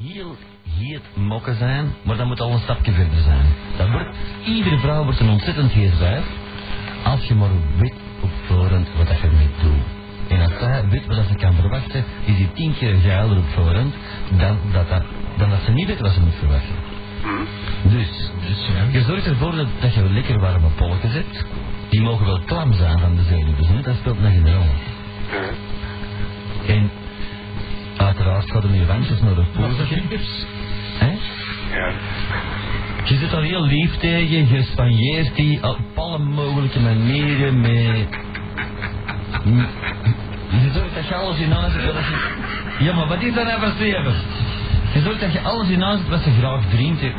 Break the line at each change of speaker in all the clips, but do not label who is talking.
heel, heel mokken zijn, maar dat moet al een stapje verder zijn. Dat wordt, iedere vrouw wordt een ontzettend geestwijf, als je maar weet op voorhand wat dat je ermee doet. En als zij weet wat dat ze kan verwachten, is die tien keer geilder op voorhand dan dat, dat, dan dat ze niet weet wat ze moet verwachten. Dus,
Dus ja.
je zorgt ervoor dat, dat je lekker warme polken hebt. Die mogen wel klam zijn van de zenuwen, hè? dat speelt nog een rol.
Ja.
En uiteraard gaat hem je wandjes naar de poeltje. hè?
Ja.
Je zit al heel lief tegen, je spanjeert die op alle mogelijke manieren mee. Mm. Je zorgt dat je alles in huis hebt. wat ze- Ja, maar wat is dat nou voor zeven? Je zorgt dat je alles in huis hebt wat ze graag drinkt. hè.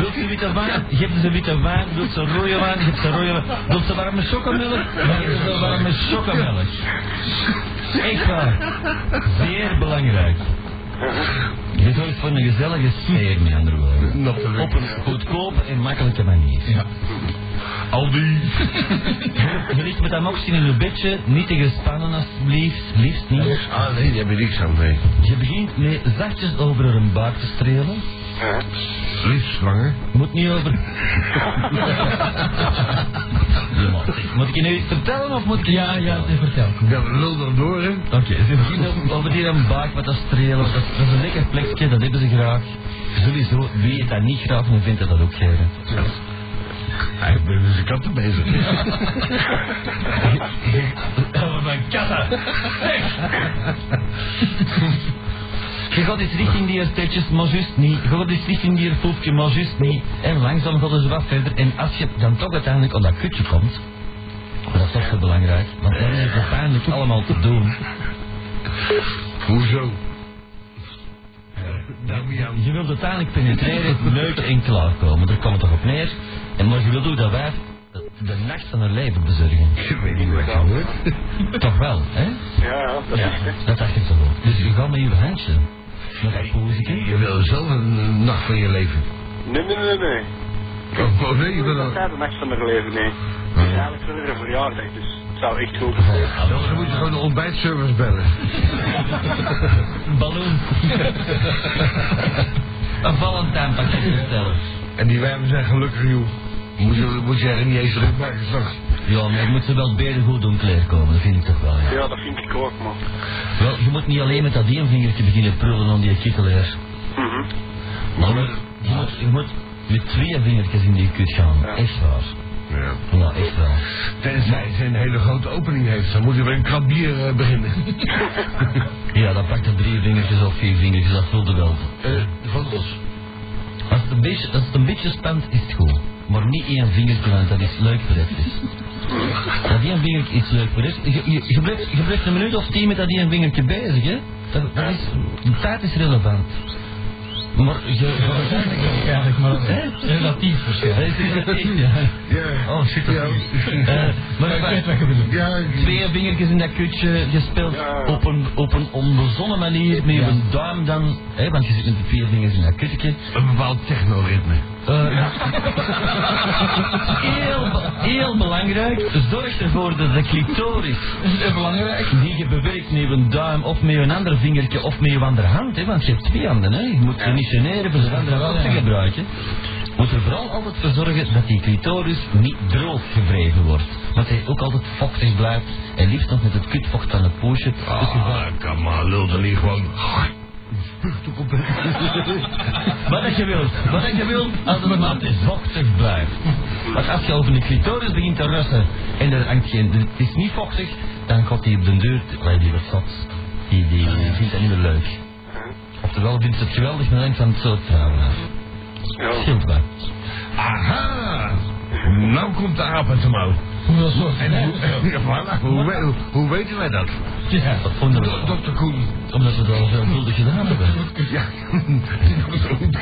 Wilt je witte wijn? Geef ze witte wijn. Wilt ze rode wijn? Geef ze rode wijn. Wilt ze warme chocomelk? Geef ze warme chocomelk. Echt waar. Zeer belangrijk. Je zorgt voor een gezellige sfeer, met andere woorden.
Natuurlijk.
Op een goedkope en makkelijke manier.
Ja. Aldi.
Je ligt met dat moxie in je bedje, niet te gespannen alsjeblieft, liefst niet.
Ah nee, daar ben ik zo mee.
Je begint mee zachtjes over een baard te strelen.
Ja.
Liefst zwanger.
Moet niet over... Ja, maar zeg, moet ik je nu iets vertellen of moet ik... Ja, ja, vertel.
Ja, lul dan door hè.
Oké, ze beginnen over- over die een baak wat te strelen. Dat, dat is een lekker plekje, dat hebben ze graag. Sowieso, wie het dat niet graag, dan vindt het dat ook geen.
Hij ben met zijn katten bezig.
Oh, mijn katten! Je gaat eens richting die stetjes, maar juist niet. Je gaat eens richting die poefje, maar juist niet. En langzaam gaan ze wat verder. En als je dan toch uiteindelijk op dat kutje komt... Dat is toch zo belangrijk, want dan is het pijnlijk allemaal te doen.
Hoezo? Damian.
Je wilt uiteindelijk penetreren, leuk en klaarkomen. Daar komt het toch op neer. En maar je wilt ook dat wij de nacht van haar leven bezorgen.
Ik weet niet wat je hoort.
Toch wel, hè?
Ja, dat
Ja,
is het.
dat dacht ik toch ook. Dus je gaat met je handje. Met dat poezetje.
Je wil zelf een eh, nacht van je leven.
Nee, nee, nee, nee.
Oh, oh, nee, je wil
Dat
dat.
is de nacht van haar leven, nee. Het is eigenlijk verder een verjaardag, dus het zou echt goed zijn.
Dan moet je gewoon de ontbijtservice bellen.
Ballon. Een Valentijnpakket bestellen.
En die wijven zijn gelukkig, joh. Moet je, moet je er niet eens druk maken straks.
Ja, maar je moet ze wel beter goed doen klaarkomen, dat vind ik toch wel, ja.
Ja, dat vind ik ook, man.
Wel, je moet niet alleen met dat ene vingertje beginnen prullen aan die kikkeleer.
Mhm.
Maar je moet, je moet, je moet met twee vingertjes in die kut gaan.
Ja.
Echt waar.
Ja.
Ja, echt waar.
Tenzij ze een hele grote opening heeft, dan moet je bij een krab bier eh, beginnen.
Ja, dan pak je drie vingertjes of vier vingertjes, dat voelde wel.
Eh, van ons.
Als het, een beetje, als het een beetje spant, is het goed. Maar niet één vingertje, want dat is leuk voor het. Dat één vingertje is leuk voor het. Je, je, je, blijft, je blijft een minuut of tien met dat één vingertje bezig, hè. Dat, dat is, de tijd is relevant. Maar je... Eigenlijk, maar relatief verschil.
Ja.
Oh, shit, dat
Ja.
is... Eh, maar ik weet wat je bedoelt.
Ja, ik-
Twee vingertjes in dat kutje, je speelt
Ja.
op, een, op een onbezonnen manier met je
Ja.
duim dan, hè, want je zit met de vier vingers in dat kutje.
een bepaald technoritme.
Eh, heel, be- heel belangrijk, zorg ervoor dat de clitoris, belangrijk. die je bewerkt met een duim of met een ander vingertje of met je andere hand, hè, want je hebt twee handen, hè. je moet ze niet generen voor zijn andere hand te gebruiken. Moet er vooral altijd voor zorgen dat die clitoris niet droog gevreven wordt. Want hij ook altijd vochtig blijft en liefst nog met het kutvocht van het poosje. Dus je gaat-
Ah, kom maar, lul dan niet gewoon.
Wat dat je wilt, wat dat je wilt, als het maar te vochtig blijft. Want als je over de clitoris begint te russen en er hangt geen, het is niet vochtig, dan gaat die op de deur, Allee, die wordt zat. Die, die, vindt dat niet meer leuk. Oftewel vindt ze het geweldig, maar denkt van het eh, zo trouwen.
Ja.
Scheelt wel.
Aha! Nou komt de aap uit de mouw.
Hoeveel zorg
En hoe, ja, voilà. hoe, we- hoe weten wij dat?
eh, Ja, dat vonden we.
Dokter Koen.
Omdat we het al veelvuldig gedaan hebben.
Ja,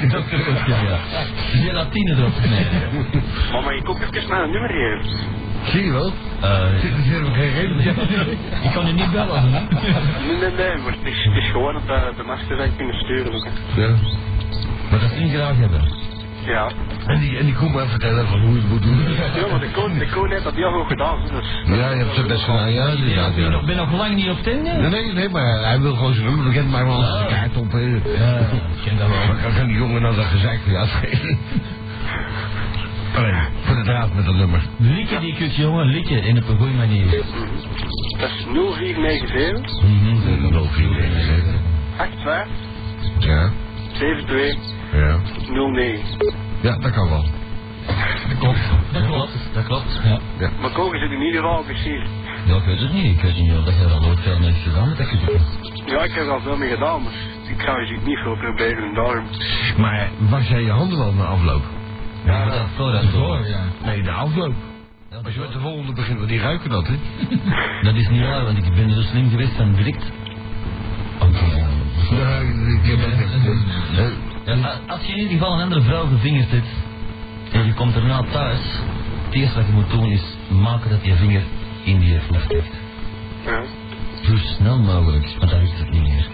dokter Koen.
Ja, ja. Gelatine erop knijpen.
Maar mag ik ook even mijn nummer geven?
Zie je wel?
Eh,
Dit is helemaal geen reden.
ik kan je niet bellen, hè?
Nee, nee, nee, maar het is, het is gewoon dat eh, de master zijn kunnen sturen.
Ja.
Maar dat wil je graag hebben.
Ja.
En die, en die komt mij vertellen van hoe je het moet doen.
Ja, maar de koning de koning heeft dat heel goed gedaan. Dus.
Ja, je hebt het best gedaan. Ja, inderdaad.
ben, je
Ja.
nog, ben je nog lang niet op Tinder?
Nee, nee, nee, maar hij wil gewoon zijn nummer bekend maken, want als hij kaart op. eh,
Ja, ik ken dat wel.
Dan kan- kan die jongen nou dat gezeik weer afgeven. Allee, Oh, voor de draad met dat nummer.
Likken die kut, jongen, likken in op een goede manier.
Dat is 0497
Mhm.
Eh, 0417.
82
Ja,
72
ja.
09.
Ja, dat kan wel. Dat klopt.
Dat klopt, dat klopt. Ja.
Maar koken zit in ieder geval precies.
Ja, ik weet het niet. Ik weet niet of dat je al ooit veel mensen gedaan met dat gedoe.
Ja, ik heb er al veel mee gedaan, maar ik ga je niet veel problemen daarom.
Maar was jij je handen wel na afloop?
Ja, dat voordat door, ja.
Nee, de afloop.
Dat
Als
is,
je met de volgende begint, want die ruiken dat, hè?
dat is niet waar, want ik ben zo slim geweest en direct.
Ja, ik heb het
Ja, a- Eh, als je in ieder geval een andere vrouw gevingerd hebt en je komt daarna thuis, het eerste wat je moet doen is maken dat je vinger in die vlucht heeft.
Ja.
Zo snel mogelijk, want dan is het niet meer.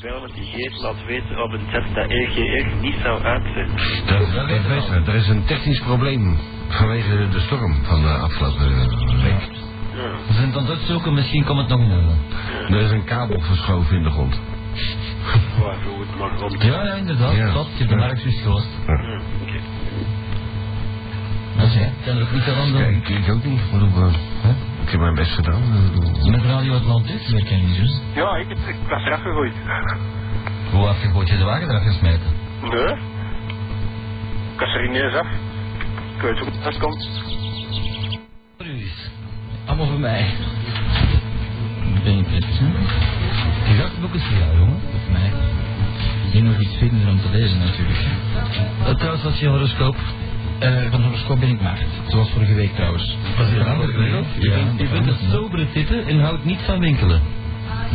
Wel dat die geest laat weten op een test dat EGR niet zou uitzenden.
Dat dat weten we. Er is een technisch probleem vanwege de storm van de afgelopen week.
Ja.
We zijn het aan het uitzoeken, misschien komt het nog in orde.
Er is een kabel verschoven in de grond.
Waar goed, maar rond.
Ja, ja, inderdaad,
Ja.
klopt. Je hebt de markt juist gelost.
Ja, oké.
Dat is, hè. Ik kan er ook niet aan doen.
Ja, ik, ik ook niet. Ik bedoel, eh,
Hè?
Ik heb mijn best gedaan.
Met Radio Atlantis werk jij niet dus.
Ja, ik, ik was eraf gegooid.
Hoe heb je gooit je de wagen eraf gesmeten?
Nee? Ik was er ineens af. Ik weet hoe dat komt.
Voor u is. Allemaal voor mij. Ben je prettig, hè? Die dagboek is voor jou, jongen. Voor mij. Je moet nog iets vinden om te lezen, natuurlijk. Eh, trouwens, wat is je horoscoop? Eh, van horoscoop ben ik maart. Zoals vorige week, trouwens. Was je
dat vorige week?
Je bent, je bent een sobere type en houdt niet van winkelen.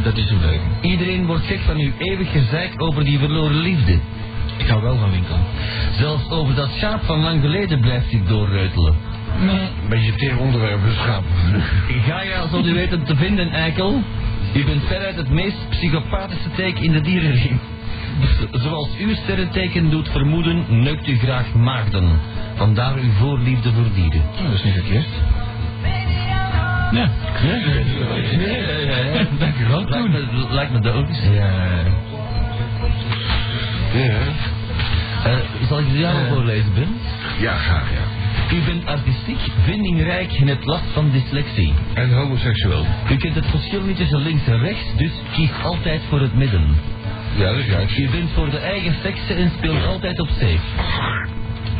Dat is een leugen. Iedereen wordt gek van uw eeuwig gezeik over die verloren liefde. Ik hou wel van winkelen. Zelfs over dat schaap van lang geleden blijft ik doorreutelen. Nee,
Een beetje teer onderwerp, dus een schaap.
Ga je als u weten te vinden, Eikel? U bent veruit het meest psychopathische teken in de dierenriem. Zoals uw sterrenteken doet vermoeden, neukt u graag maagden. Vandaar uw voorliefde voor dieren. dat is niet verkeerd. Ja. Ja, Dank u wel. Lijkt me, lijkt me dat ook eens.
Ja.
Eh, zal ik het jou voorlezen, Ben?
Ja, graag, ja.
U bent artistiek, vindingrijk en hebt last van dyslexie.
En homoseksueel.
U kent het verschil niet tussen links en rechts, dus kies altijd voor het midden.
Ja, dat is juist.
U bent voor de eigen sekse en speelt altijd op safe.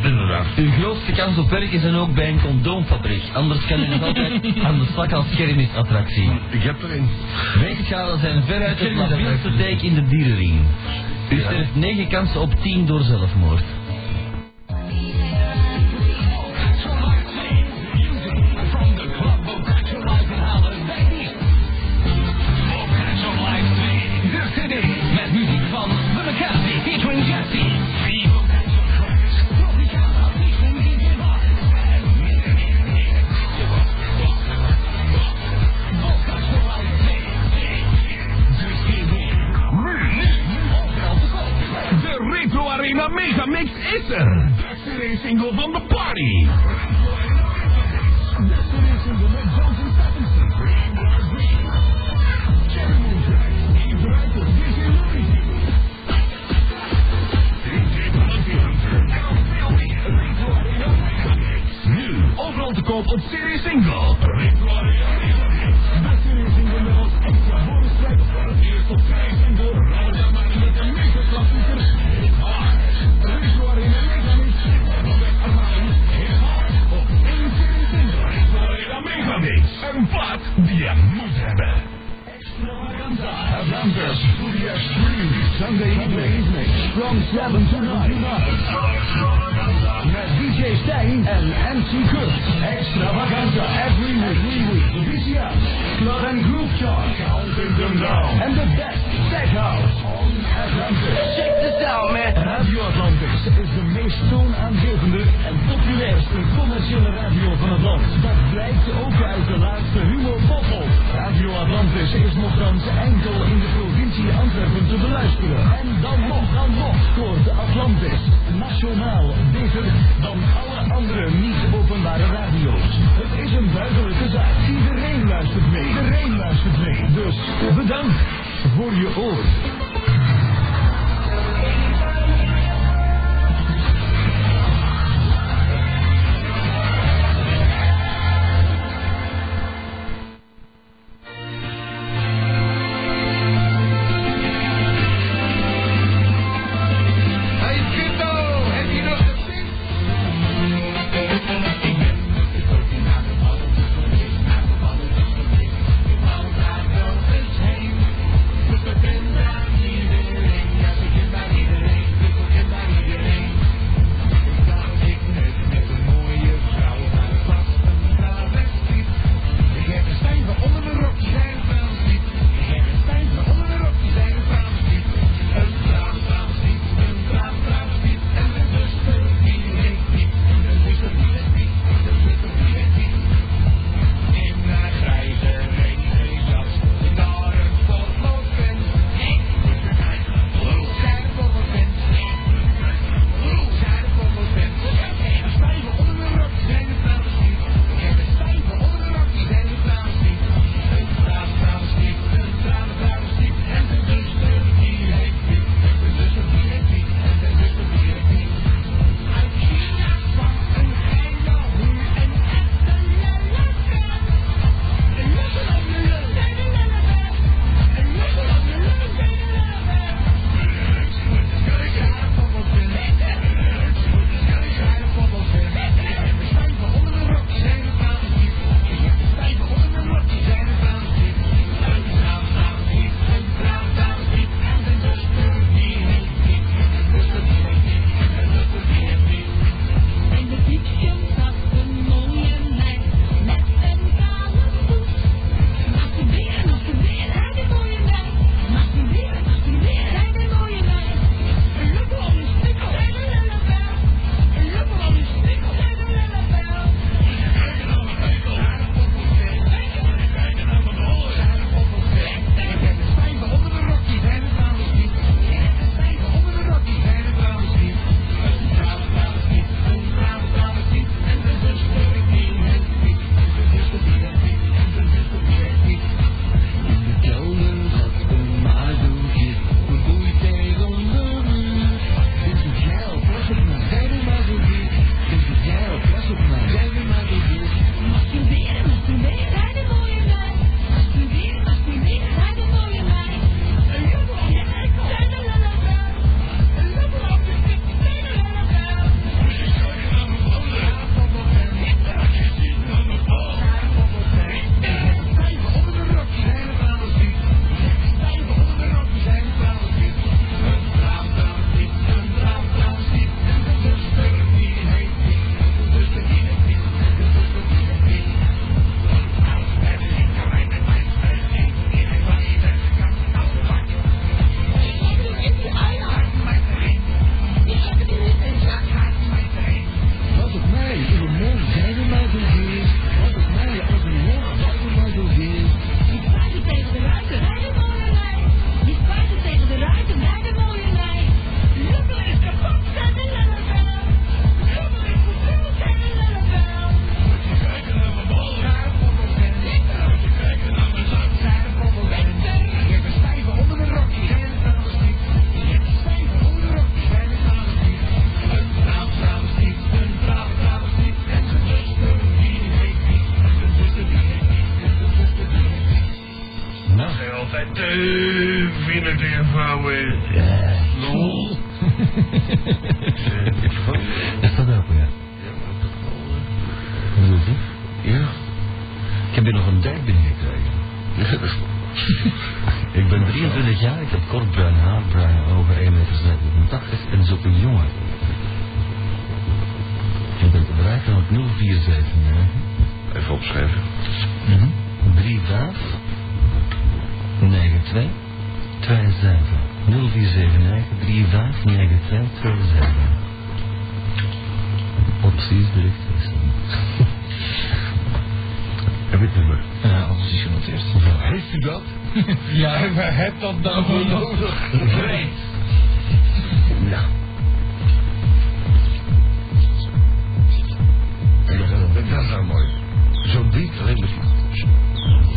Inderdaad.
Uw grootste kans op werk is dan ook bij een condoomfabriek. Anders kan u nog altijd aan de slag als kermisattractie.
Ik heb er een.
Weegschalen zijn veruit het labielste dijk in de dierenring. U sterft 9 kansen op 10 door zelfmoord.
De Retro Arena Megamix is er. De CD single van de party. De CD single met Johnson Stephenson. Jerry Moonjack, Yves Rijpel, DJ Louis. DJ Bounty Hunter, LPLB, Retro Arena Megamix. Nu, overal te koop op CD single. Retro Arena Megamix. De CD single met als extra bonus track voor het eerst op CD single. Roda maken met de mega klassieker. Hit hard. Retro Arena Megamix. De beste ervaring. Hit hard. Op één CD single. Retro Arena Megamix. Een plaat die je moet hebben. Extravaganza. Avengers. Studio Stream. Sunday evening. From 7 to 9. Met DJ Stijn en MC Kurt. Extravaganza. Every week. Every week. The VCR. Club and Groove Chart. Counting them down. And the best tech house. On Avengers. Check this out, man. Have you Radio Atlantis is de meest toonaangevende en populairste commerciële radio van het land. Dat blijkt ook uit de laatste Humo Poppel. Radio Atlantis is nogthans enkel in de provincie Antwerpen te beluisteren. En dan nog, dan nog scoort Atlantis nationaal beter dan alle andere niet-openbare radio's. Het is een duidelijke zaak. Iedereen luistert mee. Iedereen luistert mee. Dus bedankt voor je oor.
Hey Vito, heb je nog gezien?
En de diepje was een mooie meid met een kale voet. Masturberen, masturberen, hij de mooie meid. Masturberen, masturberen, hij de mooie meid. Een lokker om een stuk, zij de lellebel. Een lokker om een stuk, zij de lellebel. Masturberen, masturberen, hij de mooie meid. Masturberen, masturberen, hij de mooie meid. Een lokker om de stuk, zij de lellebel. Een lokker om de stuk, zij de lellebel.
Wat het mij in de mond zijde maar beheerst. Wat het mij als een mond zijde maar beheerst.
Die spuiten tegen de ruiten bij de mooie lijn. Die spuiten tegen de ruiten bij de mooie lijn. Lubbel is kapot, zijn de lellebel. Lubbel is vervuld, zijn de lellebel.
Nou,
Altijd te veel te ervouwen. Lol.
is dat ook, ja. Wat doet hij?
Ja,
Ik heb hier nog een duik binnengekregen. ik ben 23 jaar, ik heb kort bruin haar, bruine ogen, 1,87 meter en zoek een jongen. Ik ben te bereiken op 0479
even
Mhm.
opschrijven.
35 92 27 0479 359227. Opties bericht wisselen.
Heb je het nummer?
Ja, alles is genoteerd.
Heeft u dat?
Ja, we hebben dat nou voor nodig. Vreemd.
Nou. En dat, dat is nou mooi. Zo'n beat alleen maar.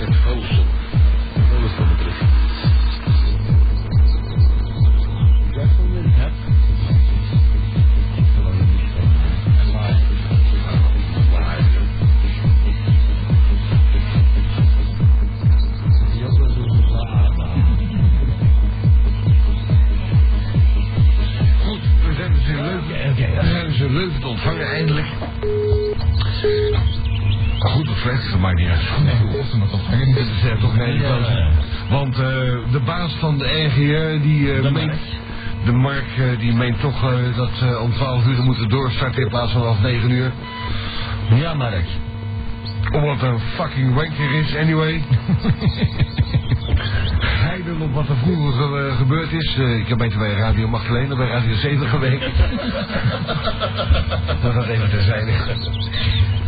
Het valse. Alles wat betreft. Goed, we zijn dus in Leuven. We zijn dus in Leuven te ontvangen eindelijk. Goed of slecht, dat maakt niet uit. Dit is eh, toch een hele
Ja.
kans. Want eh, de baas van de RGE, die eh
De
meent...
Mark.
De Mark, eh, die meent toch eh, dat ze om 12 uur moeten doorstarten in plaats van half 9 uur.
Ja, Mark.
Omdat er een fucking wanker is, anyway. Heiden op wat er vroeger ge- gebeurd is. Eh, ik heb beter bij Radio Magdalena, bij Radio 7 gewerkt. maar dat even terzijde.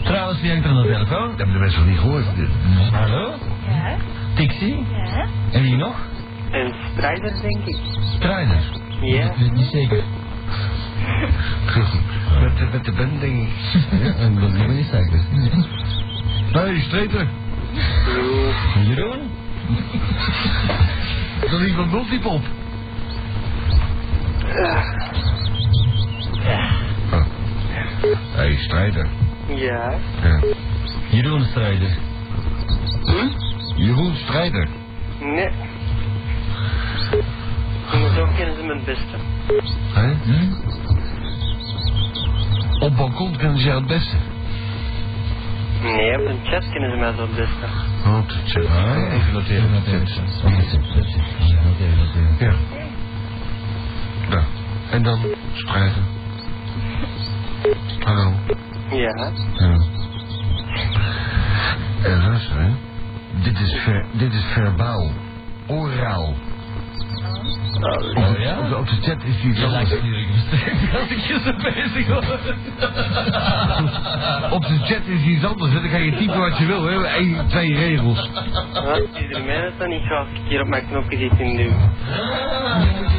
Trouwens, wie hangt er aan de telefoon?
Dat hebben de mensen nog niet gehoord. Dit.
Hallo?
Ja,
Tixie?
ja.
En wie nog?
Een strijder, denk ik.
Strijder.
Ja.
Ik weet niet zeker.
Met, de- met de band, denk ik.
Ja, en wat ben je zeker?
Hey, Streeter.
Jeroen?
Dat is niet van Multipop. Oh. Hey, Strijder.
Ja.
Ja.
Jeroen Strijder.
Jeroen Strijder.
Nee. Maar zo kennen ze mijn beste.
Hè? Op balkon kunnen ze jou het beste.
Nee, op een chat kennen ze mij zo het beste.
Oh, dat is Even noteren. Ja. Nou, en dan strijden. Hallo.
Ja.
Ja. En luister, hè. Dit is, ver, dit is verbaal. Oraal.
Oh ja?
Op de, op de chat is die
Je
anders.
lijkt natuurlijk een als ik je zo bezig hoor.
Op de chat is iets anders, hè. dan kan je typen wat je wil, hè. Eén, twee regels.
Wat is er mij dat dan niet zo als ik hier op mijn knopje zit in duw?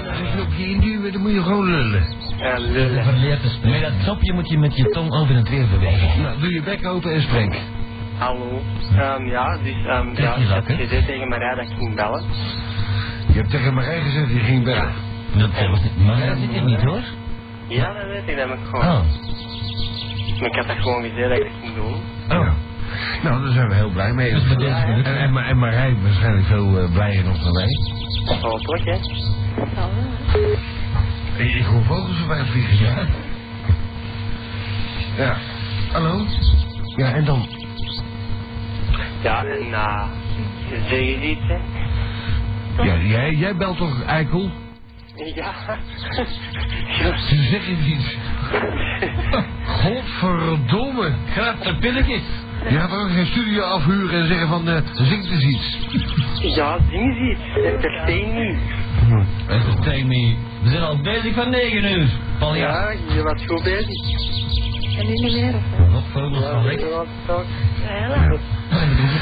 Als je op je induwen, dan moet je gewoon lullen.
Ja, lullen.
Verleerd te spreken. Met dat topje moet je met je tong over het weer bewegen.
Nou, doe je bek open en spreek.
Hallo. Ehm ja, dus ehm ja, ik heb gezegd tegen Maria dat ik ging bellen.
Je hebt tegen Marijn gezegd, die ging bellen.
Dat, eh, was niet- maar eh, dat zit hier niet hoor.
Ja, dat weet ik, dat heb ik gewoon.
Oh.
Maar ik had dat gewoon gezegd dat ik dat ging doen.
Oh. Nou, daar zijn we heel blij mee.
Dus bij deze
en, en, en Marijn waarschijnlijk veel eh, blijer nog dan wij.
Hopelijk, hè.
Ik, ik hoor vogels voorbij vliegen, ja. Ja. Hallo? Ja, en dan?
Ja, en na. zeg je iets, hè?
Ja, jij, jij belt toch Eikel?
Ja.
Zeg eens iets. Godverdomme.
Grap de eh, pilletjes.
Je gaat ook geen studio afhuren en zeggen van, eh zing eens iets.
ja, zing eens iets. Entertain me.
Entertain me. We zijn al bezig van 9 uur. Paul ja.
Ja, je was goed bezig.
En nu niet meer of
Wat vogels
Ja,
van
weet je
weg.
wat, toch?
Ja,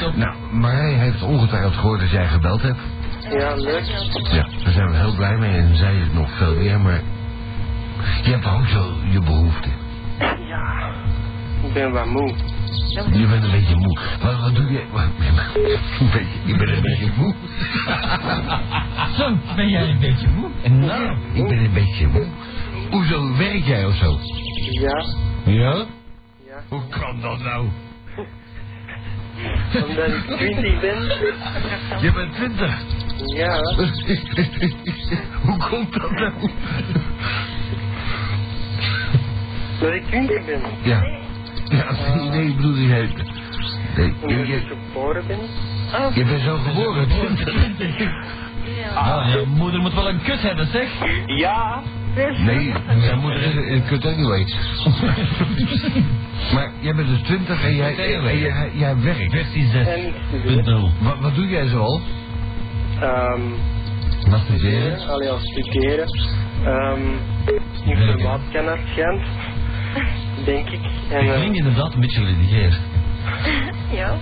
Oh,
Nou, Marijn heeft ongetwijfeld gehoord dat jij gebeld hebt.
Ja, leuk.
Ja, daar zijn we heel blij mee en zij het nog veel meer, maar je hebt ook zo je behoeften.
Ja. Ik ben wat moe.
Je bent een beetje moe. Wat, wat doe je? Wat, nee, maar- een beetje- ik ben een beetje moe.
Zo, Oh, ben jij een beetje moe? En nou?
Ik ben een beetje moe. Hoezo werk jij of zo?
Ja.
Ja?
Ja.
Hoe kan dat nou?
Omdat ik 20 ben.
Je bent twintig.
Ja.
Hoe komt dat nou?
Dat ik 20 ben.
Ja. Ja, nee, ik bedoel, je hebt... Nee, je,
Omdat ik
je,
geboren ben.
je bent zo geboren.
ja.
ja.
Nou, je moeder moet wel een kus hebben, zeg.
Ja,
Nee, zijn moeder is een kut anyway. maar jij bent dus 20 en jij, en jij, jij werkt.
Versie 6.0.
Wat, wat doe jij zoal?
Ehm,
Masturberen?
allee, als studeren. Ehm Informaatkenner, Gent. Denk ik. En,
Die
eh,
klinkt inderdaad een beetje ledigeer.
Ja.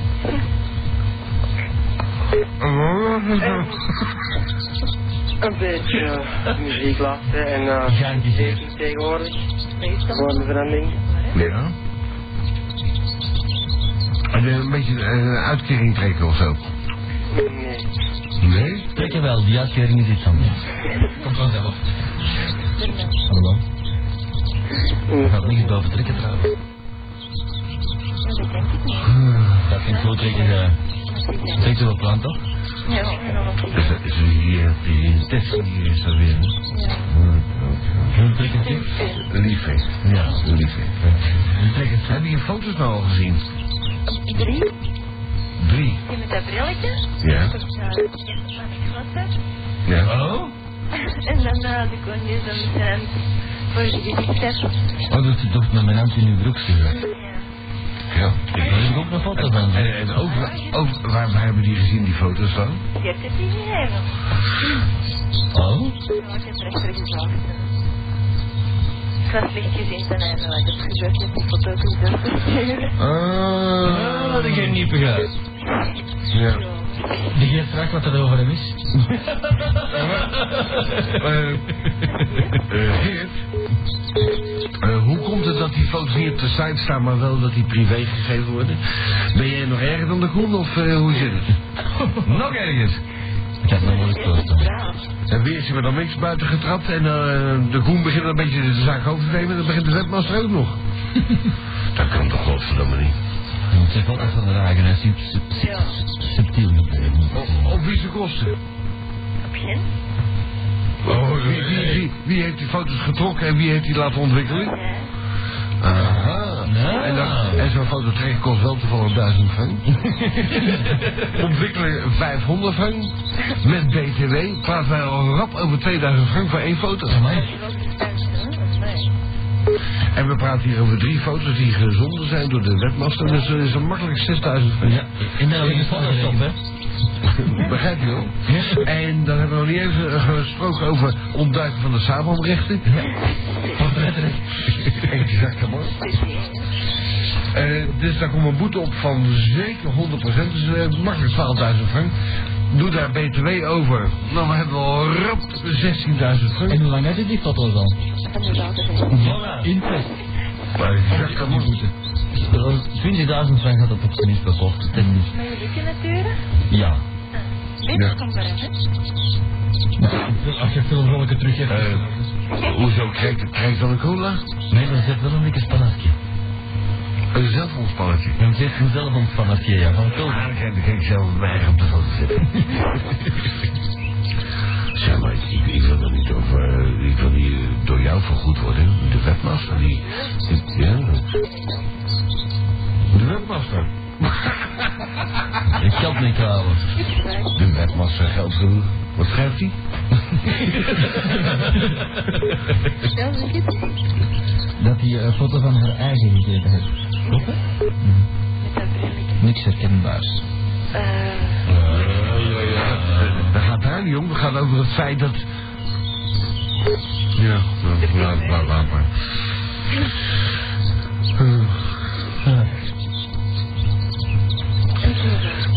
een beetje eh, muziek laten en eh,
Geëngageerd.
tegenwoordig. Gewoon een verandering.
Ja. En eh, een beetje eh, een uitkering trekken of zo?
Nee.
Nee?
Trek je wel, die uitkering is iets anders. Komt vanzelf. Hallo. Gaat niet boven trekken trouwens.
Dat denk ik niet.
Hmm, Dat vind ik goed trekken. eh, Trekt u wel plan toch?
Ja, ik ben wel wat
Dus dat is hier, die testing hier is dat weer.
Heel trekken zeg.
Liefheid.
Ja.
Liefheid. Hebben je foto's nou al gezien?
Drie,
Drie.
die met dat brilletje.
Ja.
Tot uh, van de klasse.
Ja.
Oh?
En dan eh, had ik gewoon hier zo'n zijn voor je gezicht heb.
Oh, dat je toch met mijn hand in uw broek zit.
Ja.
ja.
Daar heb ik ook een foto van.
En, en ook, ook waar, waar hebben die gezien, die foto's dan?
Je hebt het niet gegeven.
Oh?
Ja, ik heb het echt teruggevraagd. Ik was licht gezien ten einde wat het gebeurt met die foto ook niet durf te sturen.
Ah, dat ging niet begrijpen.
Ja.
Die geeft straks wat er over hem is.
Eh, eh, Geert, eh, hoe komt het dat die foto's niet op de site staan, maar wel dat die privé gegeven worden? Ben jij nog erger dan de groen of eh, hoe zit het? nog ergens.
Ik had me moeilijk voorstellen.
En weer is er dan niks buiten getrapt en eh, de groen begint een beetje de zaak over te nemen en dan begint de webmaster ook nog. dat kan toch godverdomme niet.
Het is altijd van de ragen, hè. Sub- sub- sub-
Ja.
Subtiel niet.
Op, op wie ze kosten?
Op geen?
wie, wie, wie, wie heeft die foto's getrokken en wie heeft die laten ontwikkelen?
Ja.
Aha.
Nou.
En, dat- en zo'n foto trekken kost wel toevallig 1000 frank. Ontwikkelen 500 frank. Met BTW praten wij al rap over 2000 frank voor één foto.
Amai.
Je was niet thuis, hè? Nee.
En we praten hier over drie foto's die gezonden zijn door de webmaster. Dus dat is een makkelijk 6000 frank.
Ja. En daar liggen foto's op, hè.
Begrijp je wel? En dan hebben we nog niet eens eh, gesproken over ontduiken van de samenrechten. Exact, hoor. Eh, dus daar komt een boete op van zeker 100%, dus eh, makkelijk 12.000 frank. Doe daar BTW over. Nou, we hebben al rap 16.000 frank.
En hoe lang heb je die foto's al?
En de later zei
Interest.
Maar exact, dat moet moeten.
20.000 frank had op het minst bekocht. En
Maar je lukken natuurlijk.
ja. Ah,
Dit komt er hè?
Als je filmrollen terug hebt.
Eh, hoezo krijg ik krijg ik dan een cola?
Nee, dan zet wel een dikke spannetje.
Een zelfonspannetje.
Dan zet hem zelf een spannetje, ja. Van
Ah, Dan
Kulder.
ga ik- ga ik zelf mijn eigen op de foto zetten. Zeg maar, ik, ik wil dat niet over. eh, Ik wil niet eh, door jou vergoed worden. De webmaster die. die- ja. De webmaster.
Ik geld niet trouwens.
De webmaster geld genoeg. Wat schrijft hij?
Ja, dat is het.
Dat hij een foto van haar eigen gegeven heeft. Klopt, hè?
Met dat brilletje.
Niks herkenbaars.
Eh,
ja, ja. Dat gaat daar niet om. Het gaat over het feit dat. Ja, nou, laat, laat, laat maar.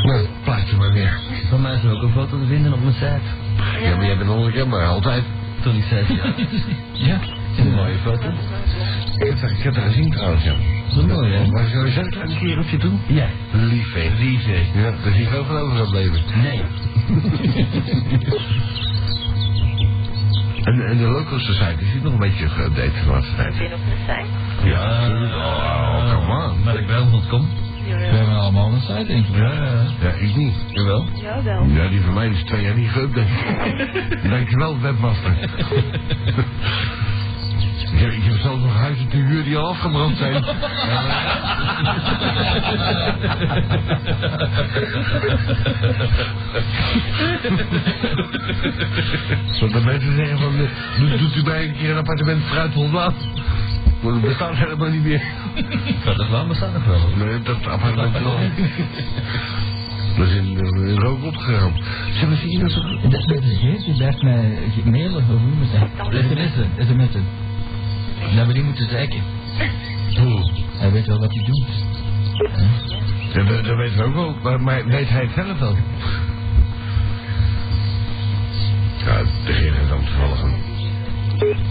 Nou, plaats je maar weer.
Van mij is er ook een foto te vinden op mijn site.
Ja, maar jij bent onherkenbaar, altijd.
Toen ik 16 jaar was. Ja. Een mooie foto.
Ik heb dat, ik heb dat gezien trouwens, ja.
Zo mooi, hè?
Maar zou je zo'n klein kereltje doen?
Ja.
Lieve. Lieve. Ja, daar is niet veel van over gebleven.
Nee.
En, en de local society is nog een beetje geüpdate de laatste
ik
tijd.
ben op mijn site.
Ja, oh, come on.
Maar ik wel kom. We
Jawel.
hebben allemaal een site, denk ik. Ja, ja.
Ja, ik niet.
Jawel.
Jawel.
Ja, die van mij is twee jaar niet geüpdate. Dankjewel, webmaster. Je, je hebt zelfs nog huizen te huur die al afgebrand zijn. Zodat mensen zeggen van, eh, doet, doet u mij een keer een appartement fruit Holblad? Want het bestaat helemaal niet meer.
Dat is waar, bestaat nog wel.
Nee, dat appartement is al. Dat is in, eh, in rook opgegaan. Zullen we zien dat ze...
Dat dat is geest,
dus
die blijft mij ge- mailen, hoe noem je dat? SMS'en, SMS'en. Dat we die moeten zeiken. Hij weet wel wat hij doet.
Ja, dat, dat weten we ook wel, maar, maar weet hij het zelf wel? Ja, de heer is aan het volgen.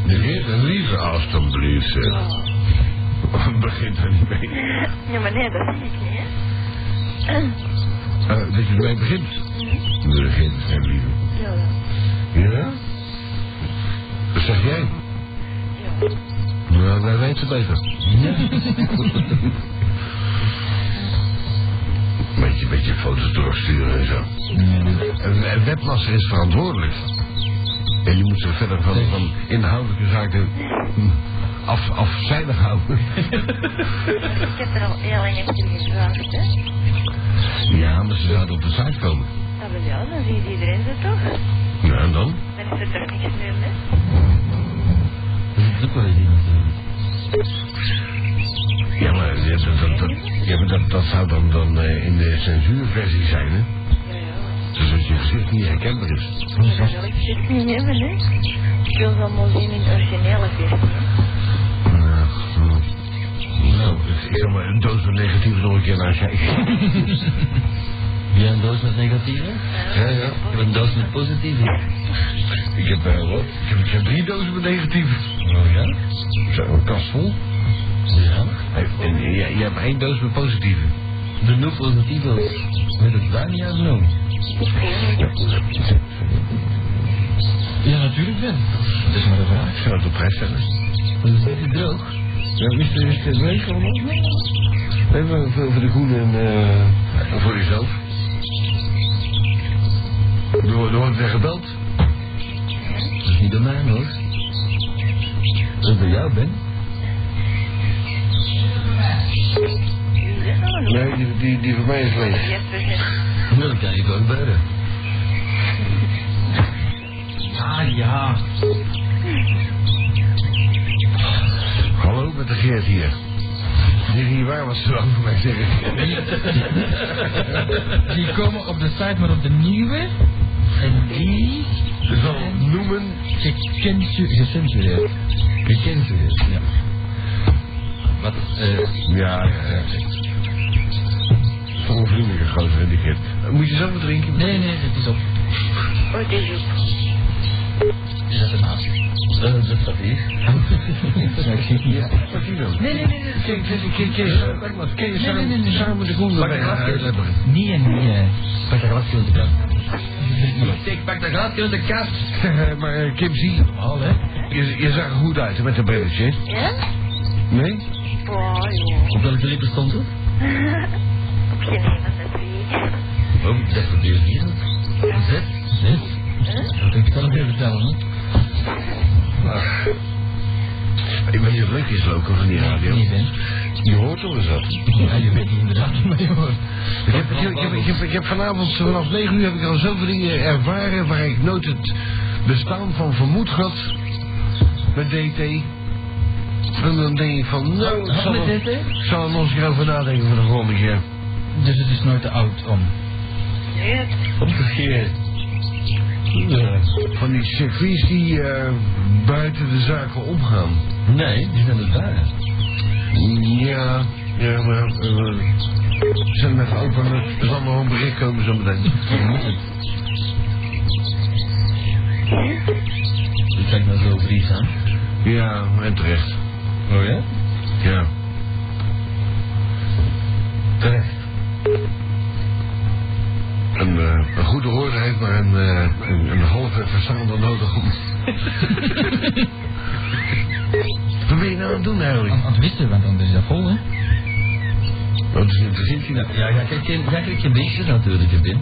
De heer, lieve alstublieft, zeg. Begint er niet mee.
Ja, maar nee, dat zie ik niet, hè.
Eh, dat je ermee begint?
Mhm.
De begint, hè, lieve.
Jawel.
Ja? Wat zeg jij?
Ja.
Nou, wij weten het beter. beetje, beetje foto's doorsturen en zo. Een, een webmaster is verantwoordelijk. En je moet ze verder van, van inhoudelijke zaken hm, af, afzijdig houden.
Ik heb er al heel lang dus voor gevraagd, hè.
Ja, maar ze zouden op de site komen.
Dat wil wel, dan ziet iedereen ze toch.
Ja, Nou, en dan?
Dan is er toch niks meer mis.
Dat is ook wel een ding natuurlijk.
Ja, maar eh, dat, dat, dat, ja, maar dat, dat zou dan, dan eh, in de censuurversie zijn, hè?
Ja, ja.
Dus dat je gezicht niet herkenbaar is.
Maar dat wil ik shit niet hebben, hè. Ik wil ze allemaal zien in originele versie, hè.
Ja, nou. Nou, ik zal maar een doos van negatieve nog een keer naar kijken.
Heb jij een doos met negatieve?
Ja, ja.
Ik heb een doos met positieve.
Ik heb eh, wat? Ik heb, ik heb drie dozen met negatieve.
Oh ja?
Zo, een kast vol.
Ja.
Hey, En jij, jij hebt één doos met positieve.
De no positivo. Weet het daar niet aan doen? Ja, natuurlijk ben. Dat is maar de vraag.
Ik zou het op prijs stellen.
Dat is niet droog.
Ja, is er is het leuk allemaal? Nee, maar voor, voor de groene en... eh, en voor jezelf. Er wordt- er wordt weer gebeld.
Dat is niet door mij hoor. Dat is door jou, Ben.
Nee, die, die, die voor mij is leeg.
Jesper zegt,
Ja, dat kan je gewoon gebeuren. Ja,
Ah,
ja.
Hallo, met de Geert hier. Die hier waar was ze over mij zeggen.
Die komen op de site, maar op de nieuwe. En die
Zal noemen.
gecensu- gecensureerd. Gecensureerd, ja.
Wat? eh
Ja, ja, ja. Zo'n vriendelijke gozer, die Geert. Eh, Moet je zelf wat drinken?
Nee, nee, het is op.
oh, dit is ook
Is dat ernaast?
dat is het papier.
Ja, wat die dan?
Nee, nee, nee, nee.
Kijk, kijk, kijk, kijk. Kijk maar, kijk,
Nee, nee, nee, nee.
samen- samen de groene eh,
Pak
bij
een glasje.
elkaar hebben.
Nee en nee.
Pak dat glasje uit de kast. Ik pak dat glasje uit de kast.
Eh, Maar eh, Kim, zie,
Al hè?
je, je zag er goed uit hè, met dat brilletje.
Ja?
Nee?
Oh, joh.
Op welke lippen stond het?
Op geen een van de drie.
Oh, dat gebeurt niet. Zet, zet.
Ik kan het even vertellen, hè.
Ach. Ik weet niet wat leuk is, Loco, van die radio.
Nee, Ben.
Je hoort toch eens wat.
Ja, je weet niet inderdaad niet meer hoor.
Ik heb, ik, heb, ik, heb, ik, heb, ik heb vanavond eh, vanaf 9 uur heb ik al zoveel dingen ervaren waar ik nooit het bestaan van vermoed had met DT. En dan denk ik van, nou, ik zal,
Wat
er-
met DT?
ik zal er nog eens een keer over nadenken voor de volgende keer.
Dus het is nooit te oud om.
Nee,
Omgekeerd. Ja.
Van die circuits die eh, buiten de zaken omgaan.
Nee, die zijn het waar.
Ja, ja, maar eh zet hem even open, er zal nog een bericht komen zo meteen.
Ik kijk nou zo vries aan.
Ja, en terecht.
Oh ja?
Ja. Terecht. Een, eh, een goede hoorder heeft maar een, eh, een, een halve verstaander nodig om... Wat ben je nou aan het doen eigenlijk?
Aan aan het wissen, want dan is dat vol, hè.
Dat is niet te zien.
Ja, jij krijgt geen, jij krijgt geen beestjes natuurlijk, hè, Ben.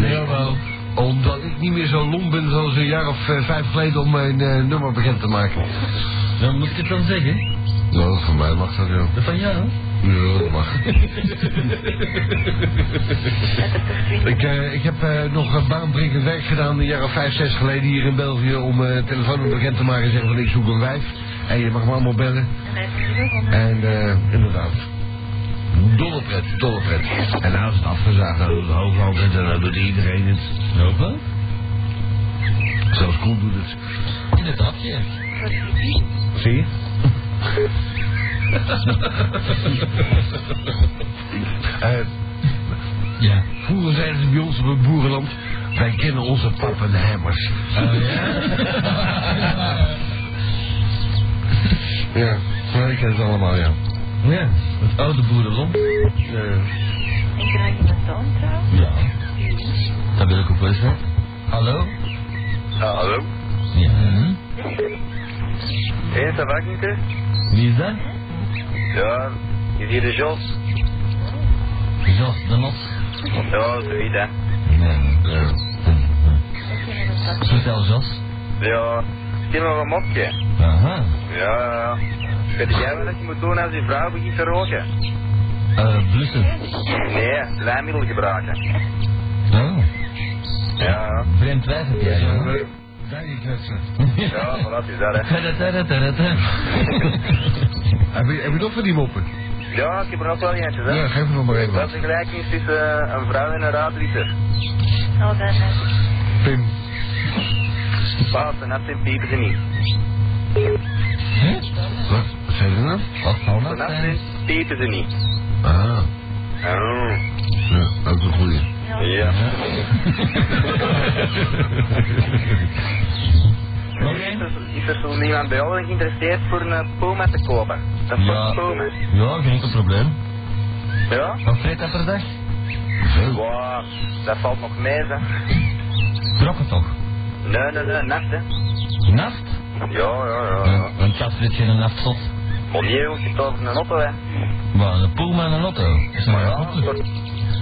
Nee.
Jawel.
Omdat ik niet meer zo lom ben zoals een jaar of eh, vijf geleden om mijn eh, nummer bekend te maken.
Dan moet ik het dan zeggen.
Nou, voor mij mag dat wel.
Dat van jou.
Ja, dat mag.
Met de perfecte.
Ik, eh, ik heb eh, nog een baanbrekend werk gedaan een jaar of vijf, zes geleden hier in België om telefoon telefoonnummer bekend te maken en zeggen van ik zoek een wijf. En je mag me allemaal bellen.
En hij heeft hier onder.
En eh, inderdaad. Dolle pret, dolle pret. En nou is het afgezaagd, dan doet Hoogland het en dan doet iedereen het.
Ook wel?
Zelfs Koen doet het.
Inderdaad, ja.
Zie je? Eh,
Ja.
vroeger zeiden ze bij ons op het boerenland, wij kennen onze pappenheimers.
Oh,
ja, maar ik ken het allemaal, ja.
Ja. Het oude boerenland.
Eh,
Ik draai je mijn toon trouwens.
Ja. Dat wil ik ook wel eens hè. Hallo?
Ja, hallo?
Ja.
Mhm.
Hé, hey, dat werkt niet, hè?
Wie is dat?
Ja, is hier de Jos?
Jos de Not.
Ja, zoiets, hè.
Nee. Ja.
Ik ken het wel.
Vertel Jos.
Ja, stil nog een mopje.
Aha.
Ja, ja, ja. Weet jij wat je moet doen als je vrouw begint te roken?
Eh, blussen.
Nee, lijmmiddel gebruiken.
Oh.
Ja,
Vreemd wijf heb jij, jongen.
Daar je kletsen.
ja, voilà, is dat, hè.
Tadatadatadata.
Heb je, heb je nog van die moppen?
Ja, ik heb er nog wel eentje, hè.
Ja, geef me nog maar even
Wat
wat.
de vergelijking is tussen eh, een vrouw en een raadliter.
Oh, daar net.
Pim.
Paas en nat en piepen ze niet.
Hè?
Wat? Wat zei je nou?
Wat zou
De
dat
nat
zijn?
is, piepen ze niet.
Ah,
Oh,
ja, dat is een goeie.
ja.
Nog
Is
één?
er- Is er zo niemand bij jou geïnteresseerd voor een poma te kopen? Dat is
Ja.
een poma.
Ja, geen enkel probleem.
Ja?
Wat vreet dat per dag?
Wow, dat valt nog mee, hè.
Trokken toch?
Nee, nee, nee, nacht, hè.
Naft?
Ja, ja, ja.
Ja.
ja.
Een kat vreet geen naftzot.
Om je hoeft je toch een auto, hè.
Maar een puma en een lotto. Is maar
Ja,
goed.
voor,